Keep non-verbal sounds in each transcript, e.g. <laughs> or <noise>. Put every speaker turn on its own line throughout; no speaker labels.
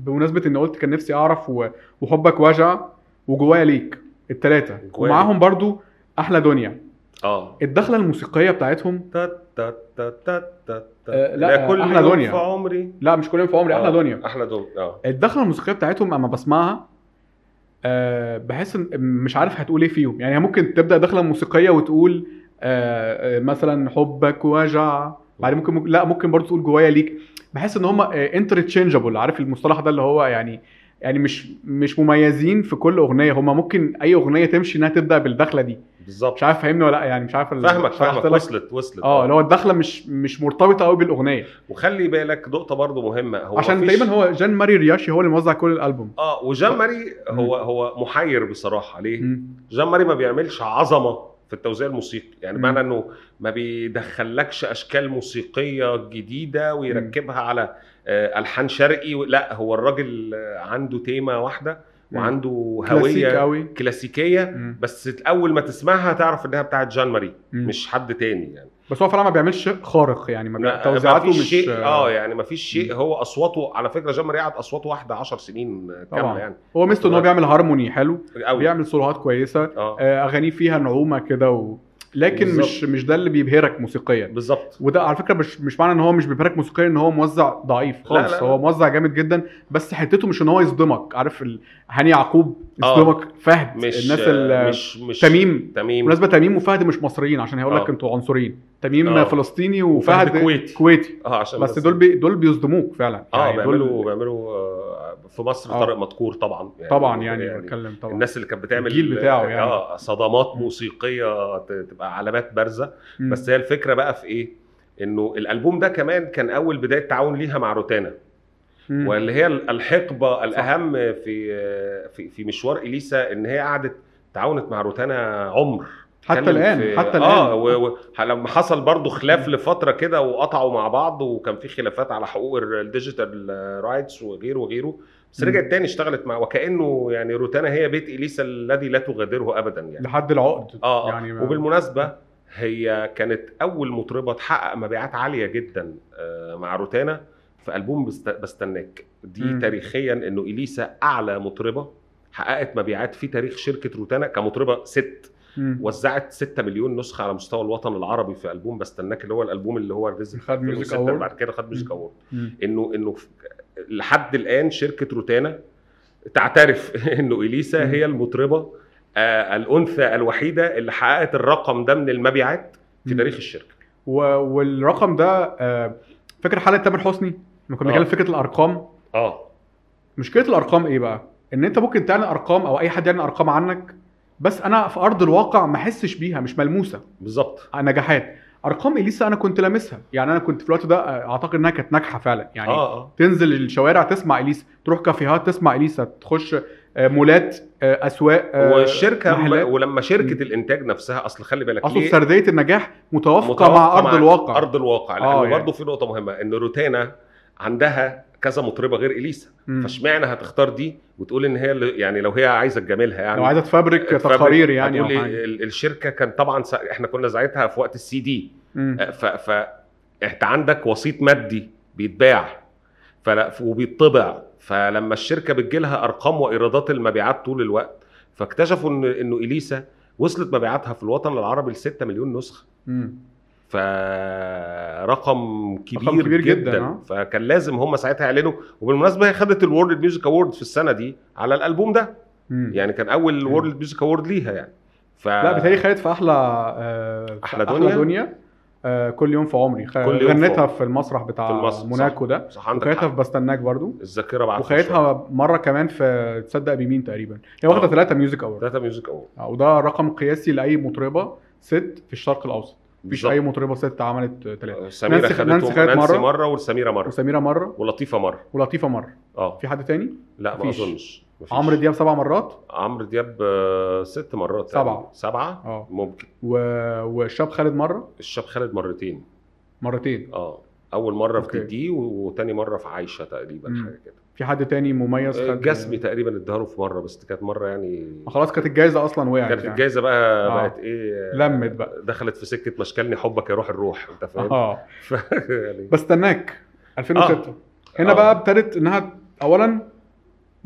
بمناسبه ان قلت كان نفسي اعرف و... وحبك وجع وجوايا ليك التلاتة
جوايا
ومعاهم برضو احلى دنيا
اه
الدخله الموسيقيه بتاعتهم
تا تا تا تا تا
آه،
تا
لا،
ده كل
أحلى
يوم
دنيا.
في عمري
لا مش كل يوم في عمري احلى
آه،
دنيا
احلى دنيا اه
الدخله الموسيقيه بتاعتهم اما بسمعها أه بحس إن مش عارف هتقول ايه فيهم يعني ممكن تبدا دخله موسيقيه وتقول أه آه، مثلا حبك وجع بعد ممكن, ممكن لا ممكن برضو تقول جوايا ليك بحس ان هم انترتشينجبل عارف المصطلح ده اللي هو يعني يعني مش مش مميزين في كل اغنيه هم ممكن اي اغنيه تمشي انها تبدا بالدخله دي
بالظبط
مش عارف فاهمني ولا لا يعني مش عارف
فاهمك
شرحت
فاهمك
لك؟
وصلت وصلت
اه اللي هو الدخله مش مش مرتبطه قوي بالاغنيه
وخلي بالك نقطه برضو مهمه هو
عشان
مفيش-
تقريبا هو جان ماري رياشي هو اللي موزع كل الالبوم
اه وجان ماري هو هو محير بصراحه ليه؟
مم.
جان ماري ما بيعملش عظمه في التوزيع الموسيقي يعني
مم.
معنى انه ما بيدخلكش اشكال موسيقيه جديده ويركبها على آه، الحان شرقي و- لا هو الراجل آه، عنده تيمه واحده
مم.
وعنده
كلاسيك
هويه
قوي
كلاسيكيه
مم.
بس اول ما تسمعها تعرف انها بتاعت جان ماري
مم.
مش حد تاني يعني
بس هو فعلا ما بيعملش شيء خارق يعني ما بي...
ما-
توزيعاته
مفيش
مش
شيء
آه.
اه يعني ما فيش شيء هو اصواته على فكره جان ماري قعد اصوات واحده 10 سنين آه،
طبعاً.
كامله يعني
هو ميزته ان هو بيعمل هارموني حلو
قوي
بيعمل سولوهات كويسه
اه
آه، اغانيه فيها نعومه كده و... لكن
بالظبط.
مش مش ده اللي بيبهرك موسيقيا
بالظبط
وده على فكره مش مش معنى ان هو مش بيبهرك موسيقيا ان هو موزع ضعيف خالص
لا، لا.
هو موزع جامد جدا بس حتته مش ان هو يصدمك عارف ال... هاني يعقوب يصدمك فهد
آه. مش
الناس ال...
آه، مش مش
تميم
تميم
بالمناسبه تميم وفهد مش مصريين عشان هيقول لك
آه.
انتوا عنصريين تميم
آه.
فلسطيني
وفهد
وفهد
كويتي.
كويتي
اه عشان
بس دول بي... دول بيصدموك فعلا
اه
دول-
بيعملوا بيعملوا آه، في مصر
آه.
طارق مدكور طبعا يعني
طبعا يعني بتكلم طبعا
الناس اللي كانت بتعمل
الجيل بتاعه يعني.
اه صدمات موسيقيه ت- تبقى علامات بارزه
مم.
بس هي الفكره بقى في ايه؟ انه الالبوم ده كمان كان اول بدايه تعاون ليها مع روتانا
مم.
واللي هي ال- الحقبه الاهم في آه، في في مشوار اليسا ان هي قعدت تعاونت مع روتانا عمر
حتى
اتكلم
الان
في-
حتى الان
اه و... و... ح- لما حصل برضو خلاف لفتره كده وقطعوا مع بعض وكان في خلافات على حقوق ال- الديجيتال رايتس وغيره وغيره بس
مم.
رجعت تاني اشتغلت مع وكانه يعني روتانا هي بيت اليسا الذي لا تغادره ابدا يعني
لحد العقد
اه
يعني
يعني
ما-
وبالمناسبه هي كانت اول مطربه تحقق مبيعات عاليه جدا آه، مع روتانا في البوم بست... بستناك دي
مم.
تاريخيا انه اليسا اعلى مطربه حققت مبيعات في تاريخ شركه روتانا كمطربه ست
مم.
وزعت 6 مليون نسخه على مستوى الوطن العربي في البوم بستناك اللي هو الالبوم اللي هو الريزن
خد ميوزك أوورد.
بعد كده خد ميوزك
مم.
اوورد
مم.
انه انه ف- لحد الان شركه روتانا تعترف <laughs> انه اليسا
مم.
هي المطربه آه الانثى الوحيده اللي حققت الرقم ده من المبيعات في
مم.
تاريخ الشركه
و... والرقم ده آه، فاكر حلقه تامر حسني لما كان
آه.
بيتكلم في فكره الارقام
اه
آه. مشكله الارقام ايه بقى ان انت ممكن تعلن ارقام او اي حد يعلن ارقام عنك بس انا في ارض الواقع ما احسش بيها مش ملموسه
بالظبط
نجاحات ارقام اليسا انا كنت لامسها يعني انا كنت في الوقت ده آه، اعتقد انها كانت ناجحه فعلا يعني
اه اه
تنزل الشوارع تسمع اليسا تروح كافيهات تسمع اليسا تخش آه، مولات آه، اسواق آه،
والشركه
محلات.
ولما شركه
مم.
الانتاج نفسها اصل خلي بالك
اصل
ليه؟
سرديه النجاح متوافقه مع ارض الواقع
ارض الواقع لانه
آه،
آه
يعني.
برضه في نقطه مهمه ان روتانا عندها كذا مطربه غير اليسا
مم.
فاشمعنى هتختار دي وتقول ان هي اللي- يعني لو هي عايزه تجاملها يعني
لو عايزه تفبرك تقارير يعني او
هتقول إيه،
حاجه
ال- الشركه كان طبعا سا- احنا كنا ساعتها في وقت السي دي
مم.
ف ف انت عندك وسيط مادي بيتباع فلا وبيطبع فلما الشركه بتجي لها ارقام وايرادات المبيعات طول الوقت فاكتشفوا ان انه اليسا وصلت مبيعاتها في الوطن العربي ل 6 مليون نسخه
مم.
فرقم كبير,
رقم كبير
كبير
جداً،
جدا,
آه.
فكان لازم هم ساعتها يعلنوا وبالمناسبه هي خدت الورلد ميوزك اوورد في السنه دي على الالبوم ده
مم.
يعني كان اول
مم.
وورلد ميوزك اوورد ليها يعني ف
لا بتهيألي خدت في احلى آه، في
أحلى
احلى
دنيا.
دنيا آه، كل يوم في عمري خ-
كل يوم في
غنتها
عمري.
في المسرح بتاع
في المسرح، صح.
موناكو ده
صح عندك
وخدتها
حق.
في بستناك برضو
الذاكره بعد
وخدتها مره كمان في تصدق بمين تقريبا هي واخده
آه.
ثلاثه ميوزك اورد
ثلاثة ميوزك اوورد
وده رقم قياسي لاي مطربه ست في الشرق الاوسط مفيش
بالظبط. آه،
اي مطربه ست عملت ثلاثه
سميرة
نانسي-
خدتهم
نانسي خدت
نانسي
مرة.
مرة والسميرة مرة
وسميره مره
ولطيفة مرة
ولطيفه مره
اه
في حد تاني
لا ما
مفيش.
اظنش مفيش.
عمرو دياب سبع مرات
عمرو دياب آه، ست مرات
سبعة.
تقريباً. سبعة
اه
ممكن
و... والشاب خالد مره
الشاب خالد مرتين
مرتين
اه اول مرة في
أوكي.
دي و- وتاني مرة في عايشة تقريبا
مم. يعني.
حاجة كده
في حد تاني مميز
آه، جسمي تقريبا اداها في مرة بس كانت مرة يعني
ما خلاص كانت الجايزه اصلا وقعت
كانت
يعني.
الجايزة بقى
آه.
بقت ايه
لمت بقى
دخلت في سكة مشكلني حبك يا روح الروح انت فاهم؟
اه
ف- يعني
بستناك 2006 هنا
آه.
بقى ابتدت انها اولا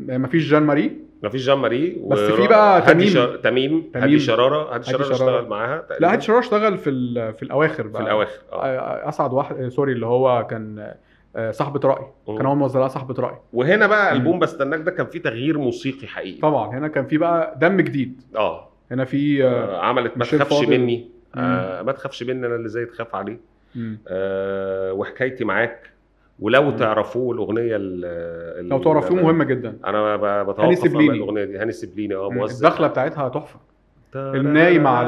مفيش جان ماري
مفيش جان ماري
بس
ورا-
في بقى
هادي
تميم.
شر- تميم
تميم.
هادي شراره هادي شراره
شرارة.
اشتغل معاها تقريباً
لا هادي شرارة اشتغل في ال- في الاواخر بقى
في الاواخر اه
آه، اسعد واحد آه، سوري اللي هو كان آه، صاحبه راي
مم.
كان هو موزعها صاحبه راي
وهنا بقى
مم.
البوم بستناك ده كان فيه تغيير موسيقي حقيقي
طبعا هنا كان في بقى دم جديد
اه
هنا في آه،
آه، عملت ما
ميشيل
تخافش
فاضل.
مني آه ما تخافش مني انا اللي زي تخاف عليه
مم.
آه وحكايتي معاك ولو
مم.
تعرفوه الاغنيه ال-
لو
ال-
تعرفوه مهمه جدا
انا ب- بتوقف
هاني
على
سبليني.
الاغنيه دي هاني سبليني اه
مم.
موزع
الدخله بتاعتها تحفه الناي مع
آه.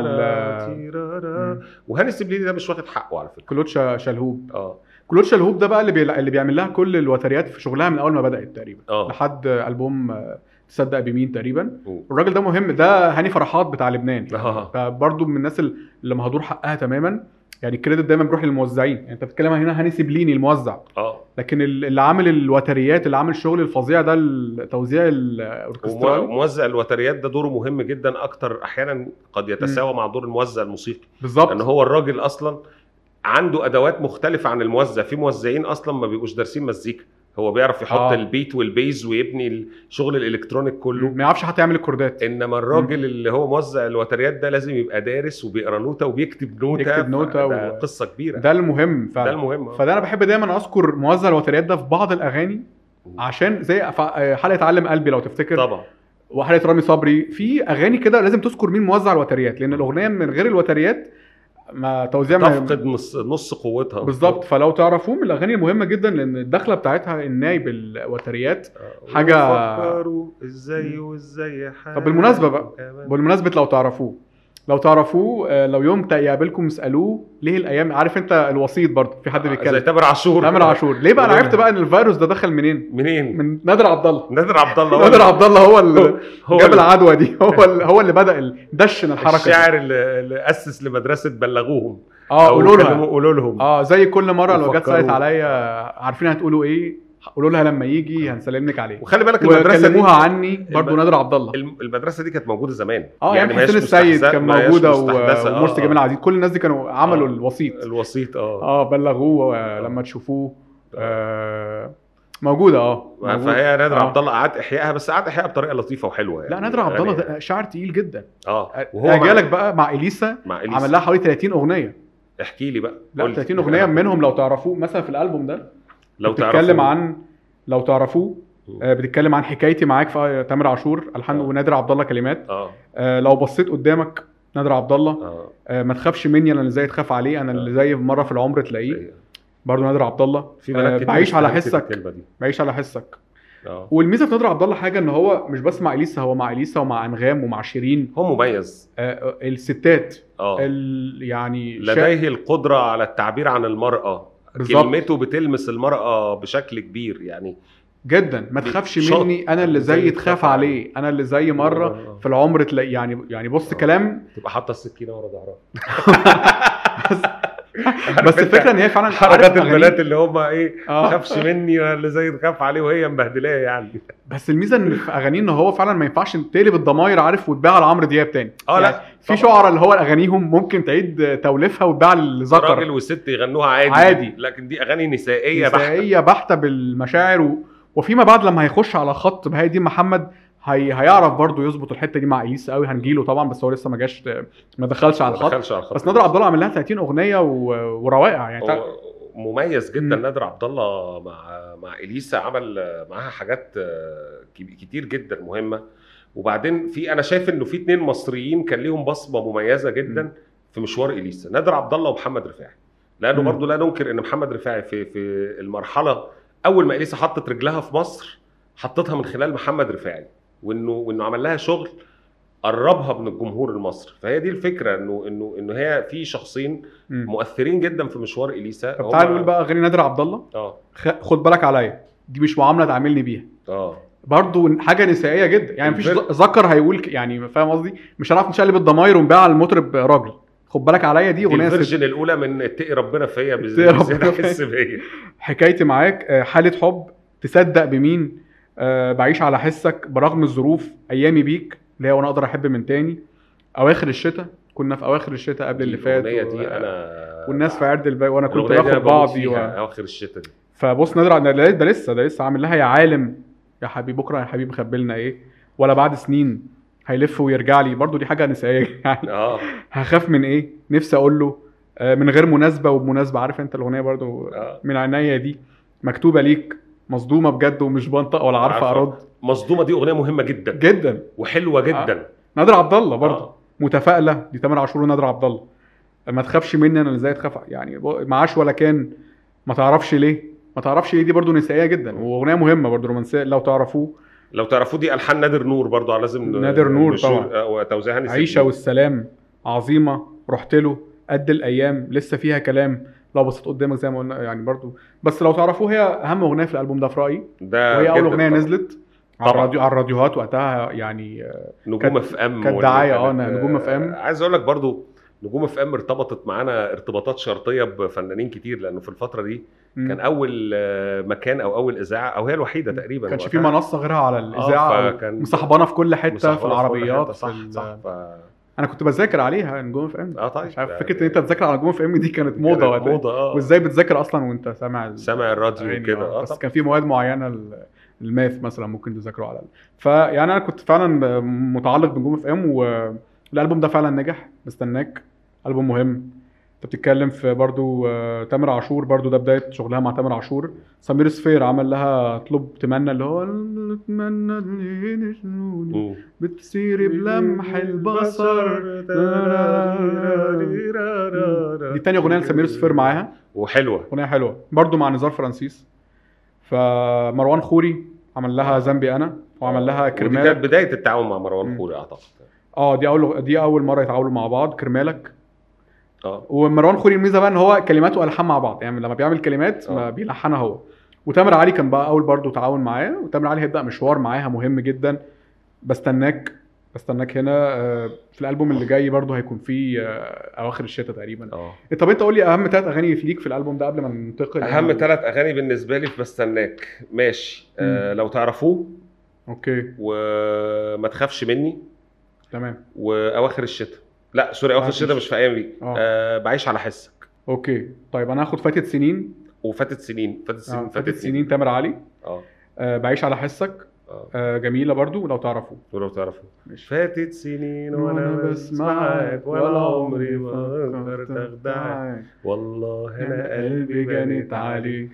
ال-
وهاني سبليني ده مش واخد حقه على فكره
كلوتشا شلهوب
اه
كلوتشا شلهوب ده بقى اللي بيلا- اللي بيعمل لها كل الوتريات في شغلها من اول ما بدات تقريبا
اه
لحد البوم آه، تصدق بمين تقريبا
مم.
الراجل ده مهم ده هاني فرحات بتاع لبنان
آه.
فبرضه من الناس اللي مهدور حقها تماما يعني الكريدت دايما بيروح للموزعين يعني انت بتتكلم هنا هاني سبليني الموزع
اه
لكن ال- اللي عامل الوتريات اللي عامل الشغل الفظيع ده التوزيع الاوركسترالي
وموزع الوتريات ده دوره مهم جدا اكتر احيانا قد يتساوى مع دور الموزع الموسيقي لان
بالظبط
هو الراجل اصلا عنده ادوات مختلفه عن الموزع في موزعين اصلا ما بيبقوش دارسين مزيكا هو بيعرف يحط
آه.
آه. البيت والبيز ويبني الشغل الالكترونيك كله
ما يعرفش حتى يعمل الكوردات
انما الراجل اللي هو موزع الوتريات ده لازم يبقى دارس وبيقرا نوته وبيكتب نوته
يكتب نوتة
ده
و-
قصه كبيره ده,
ده المهم
ده
فعلا
المهم
فده انا بحب دايما اذكر موزع الوتريات ده في بعض الاغاني عشان زي أف- حلقه علم قلبي لو تفتكر
طبعا
وحلقه رامي صبري في اغاني كده لازم تذكر مين موزع الوتريات لان الاغنيه من غير الوتريات ما توزيع ما-
تفقد نص, نص قوتها
بالظبط فلو تعرفوه من الاغاني المهمه جدا لان الدخله بتاعتها الناي بالوتريات
آه.
حاجة-
وفكروا ازاي وازاي حالك
بالمناسبة بقى،
كمان.
بالمناسبه لو تعرفوه لو تعرفوه آه، لو يوم يقابلكم اسالوه ليه الايام عارف انت الوسيط برضه في حد
آه، زي
بيتكلم
تامر عاشور
تامر عاشور ليه بقى انا
منين؟
عرفت بقى ان الفيروس ده دخل منين
منين؟
من نادر عبد الله
نادر عبد الله هو
نادر عبد الله هو اللي
هو
جاب العدوى دي <laughs> هو اللي هو اللي بدا ال- دشن الحركه دي.
الشاعر اللي اللي اسس لمدرسه بلغوهم
اه
أو
قولوا
كلموا-
لها
قولوا لهم
اه زي كل مره لو جت
وفكروا.
سالت عليا عارفين هتقولوا ايه قولوا لها لما يجي هنسلمك عليه
وخلي بالك المدرسه دي
وكلموها عني برضو
الم-
نادر عبد الله
الم- المدرسه دي كانت موجوده زمان
اه يعني
ما هياش
حسين السيد
مستحدثة-
كان
ما هياش
موجوده
مستحدثة،
و- ومرسي
آه،
جمال
آه.
عبد كل الناس دي كانوا عملوا
آه.
الوسيط
الوسيط اه
اه بلغوه آه، لما تشوفوه آه، موجوده اه موجودة.
فهي نادر
آه.
عبد الله قعد احيائها بس قعد احيائها بطريقه لطيفه وحلوه يعني
لا نادر عبد الله
يعني-
ده شعر تقيل جدا
اه وهو
وهو جالك
مع,
بقى مع اليسا
مع إليسا.
عمل لها حوالي 30 اغنيه
احكي لي بقى قول
لا
لي. يعني
30 اغنيه منهم لو تعرفوه مثلا في الالبوم ده
لو
بتتكلم
تعرفوا-
عن لو تعرفوه آه، بتتكلم عن حكايتي معاك في تامر عاشور الحان
آه.
ونادر عبد الله كلمات
اه
آه، لو بصيت قدامك نادر عبد الله
اه
آه، ما تخافش مني انا اللي زي تخاف عليه انا اللي زي مره في العمر تلاقيه برضه نادر عبد الله
آه. أيوه. في بنات
آه،
أيوة. كتير
بعيش على
استخدمت
حسك
الكلمه دي
بعيش على حسك
اه
والميزه في نادر عبد الله حاجه ان هو مش بس مع اليسا هو مع اليسا ومع انغام ومع شيرين
هو مميز
آه، آه، الستات
اه
ال... يعني شا-
لديه القدره على التعبير عن المراه
بالظبط.
كلمته بتلمس المرأة بشكل كبير يعني
جدا ما تخافش
شاطر.
مني انا اللي زي تخاف عليه انا اللي زي مره
آه.
في العمر تلاقي يعني يعني بص
آه.
كلام
تبقى حاطة السكينة ورا ظهرها
بس الفكره ان هي فعلا
حركات
عارف أغانيه-
البنات اللي هم ايه ما
اه
تخافش مني ولا اللي زي تخاف عليه وهي مبهدلاه يعني
بس الميزه ان في اغانيه ان هو فعلا ما ينفعش تقلب الضماير عارف وتباع لعمرو دياب تاني
اه
يعني
لا
في شعراء اللي هو اغانيهم ممكن تعيد توليفها وتباع
راجل
للذكر
وست يغنوها عادي
عادي.
لكن دي اغاني نسائيه بحته
نسائيه بحته بالمشاعر و... وفيما بعد لما هيخش على خط بهاي دي محمد هي... هيعرف برضه يظبط الحته دي مع اليسا قوي هنجيله طبعا بس هو لسه ما جاش ما دخلش على
ما
الخط
دخلش على الخط
بس نادر عبد الله عامل لها 30 اغنيه و... وروائع يعني تع-
هو مميز جدا
مم.
نادر عبد الله مع مع اليسا عمل معاها حاجات آه، كب- كتير جدا مهمه وبعدين في انا شايف انه في اتنين مصريين كان ليهم بصمه مميزه جدا
مم.
في مشوار اليسا نادر عبد الله ومحمد رفاعي لانه
مم.
برضو لا ننكر ان محمد رفاعي في في المرحله اول ما اليسا حطت رجلها في مصر حطتها من خلال محمد رفاعي وانه وانه عمل لها شغل قربها من الجمهور المصري فهي دي الفكره انه انه انه هي في شخصين
مم.
مؤثرين جدا في مشوار اليسا
طب
هم-
تعالى نقول بقى اغاني نادر عبد الله
اه
خ- خد بالك عليا دي مش معامله تعاملني بيها
اه
برضه حاجه نسائيه جدا يعني مفيش
الفرق.
ذكر هيقول ك- يعني فاهم قصدي مش هنعرف نشقلب الضماير ونبيع على المطرب راجل خد بالك عليا دي
دي
اغنيه ست.
الفيرجن الاولى من اتقي ربنا فيا بز-
اتقي ربنا
بزياده
فيا.
احس بيا
حكايتي معاك آه، حاله حب تصدق بمين آه، بعيش على حسك برغم الظروف ايامي بيك اللي هي وانا اقدر احب من تاني اواخر الشتاء كنا في اواخر الشتاء قبل <laughs> اللي فات
الاغنيه
و-
دي انا
والناس في عرض الباقي وانا كنت
الأغنية دي أنا
باخد
بموت
بعضي و...
فيها اواخر الشتاء دي
فبص نادر ده ده لسه ده لسه عامل لها يا عالم يا حبيبي بكره يا حبيبي خبلنا ايه ولا بعد سنين هيلف ويرجع لي برضو دي حاجه نسائيه <laughs> يعني
اه
هخاف من ايه نفسي اقول له آه، من غير مناسبه وبمناسبه عارف انت الاغنيه برضو
اه
من عينيا دي مكتوبه ليك مصدومه بجد ومش بنطق ولا عارفه
عارفة.
ارد
مصدومه دي اغنيه مهمه جدا
جدا آه،
وحلوه جدا
نادر عبد الله برضو
آه.
متفائله دي تامر عاشور ونادر عبد الله ما تخافش مني انا اللي ازاي تخاف يعني ب- معاش ولا كان ما تعرفش ليه ما تعرفش ليه دي برضو نسائيه جدا واغنيه مهمه برضو رومانسيه لو تعرفوه
لو تعرفوه دي الحان نادر نور برضو لازم ن-
نادر نور
نشير-
طبعا.
آه، وتوزيعها نسيب.
عيشه والسلام عظيمه رحت له قد الايام لسه فيها كلام لو بصيت قدامك زي ما قلنا يعني برضو بس لو تعرفوه هي اهم اغنيه في الالبوم ده في رايي
ده
وهي اول
آه، جداً
اغنيه
طبعاً.
نزلت على
طبعاً.
الراديو على الراديوهات وقتها يعني
نجوم
كانت-
اف ام
كانت
وال-
دعاية، آه،
كانت-
نجوم اف ام.
عايز اقول لك برضو نجوم اف ام ارتبطت معانا ارتباطات شرطيه بفنانين كتير لانه في الفتره دي
مم.
كان اول آه، مكان او اول اذاعه او هي الوحيده تقريبا
كانش في
وقتها.
منصه غيرها على
آه،
الاذاعه أو
فكان-
مصاحبانا في كل حته
مسحورة
في
كل
العربيات
حتة،
في
صح
ال-
صح ف...
انا كنت بذاكر عليها نجوم اف ام
اه طيب
مش عارف
يعني
فكره ان انت تذاكر على نجوم اف ام دي كانت موضه
كانت
وقتها
موضه اه
وازاي بتذاكر اصلا وانت سامع ال-
سامع الراديو
يعني
كده
آه،
اه
بس
طبعاً.
كان في مواد معينه ال- الماث مثلا ممكن تذاكره على ال- فيعني انا كنت فعلا متعلق بنجوم اف ام والالبوم ده فعلا نجح مستناك البوم مهم انت بتتكلم في برضو آه، تامر عاشور برضو ده بدايه شغلها مع تامر عاشور سمير سفير عمل لها اطلب تمنى اللي هو اتمنى العين جنوني
مم.
بتسيري بلمح البصر دي تاني اغنيه
آه.
لسمير سفير معاها
وحلوه
اغنيه حلوه برضو مع نزار فرانسيس فمروان خوري عمل لها ذنبي انا وعمل لها
آه، ودي كانت
كرمالك
بدايه التعاون مع مروان
مم.
خوري اعتقد
اه دي اول دي اول مره يتعاونوا مع بعض كرمالك
اه
ومروان خوري الميزه بقى ان هو كلماته والحان مع بعض يعني لما بيعمل كلمات ما
آه.
بيلحنها هو وتامر علي كان بقى اول برضو تعاون معاه وتامر علي هيبدا مشوار معاها مهم جدا بستناك بستناك هنا آه، في الالبوم اللي جاي برضو هيكون فيه آه، اواخر الشتاء تقريبا
اه
طب انت قول لي اهم ثلاث اغاني ليك في الالبوم ده قبل ما ننتقل
اهم
يعني.
ثلاث اغاني بالنسبه لي في بستناك ماشي آه لو تعرفوه
اوكي
وما تخافش مني
تمام
واواخر الشتاء لا سوري اواخر
أواخر
الشتاء مش في ايام دي
آه.
آه بعيش على حسك
اوكي طيب انا هاخد فاتت سنين
وفاتت سنين فاتت سنين
آه، فاتت سنين تامر علي
اه
آه بعيش على حسك
اه
آه جميله برضو لو تعرفوا
ولو تعرفوا
مش
فاتت سنين وانا بسمعك ولا عمري ما اقدر اخدعك والله انا قلبي بنت عليك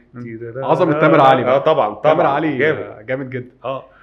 عظمة تامر علي بقى.
اه طبعا طبعا
تامر علي
جامد
جامد جدا
اه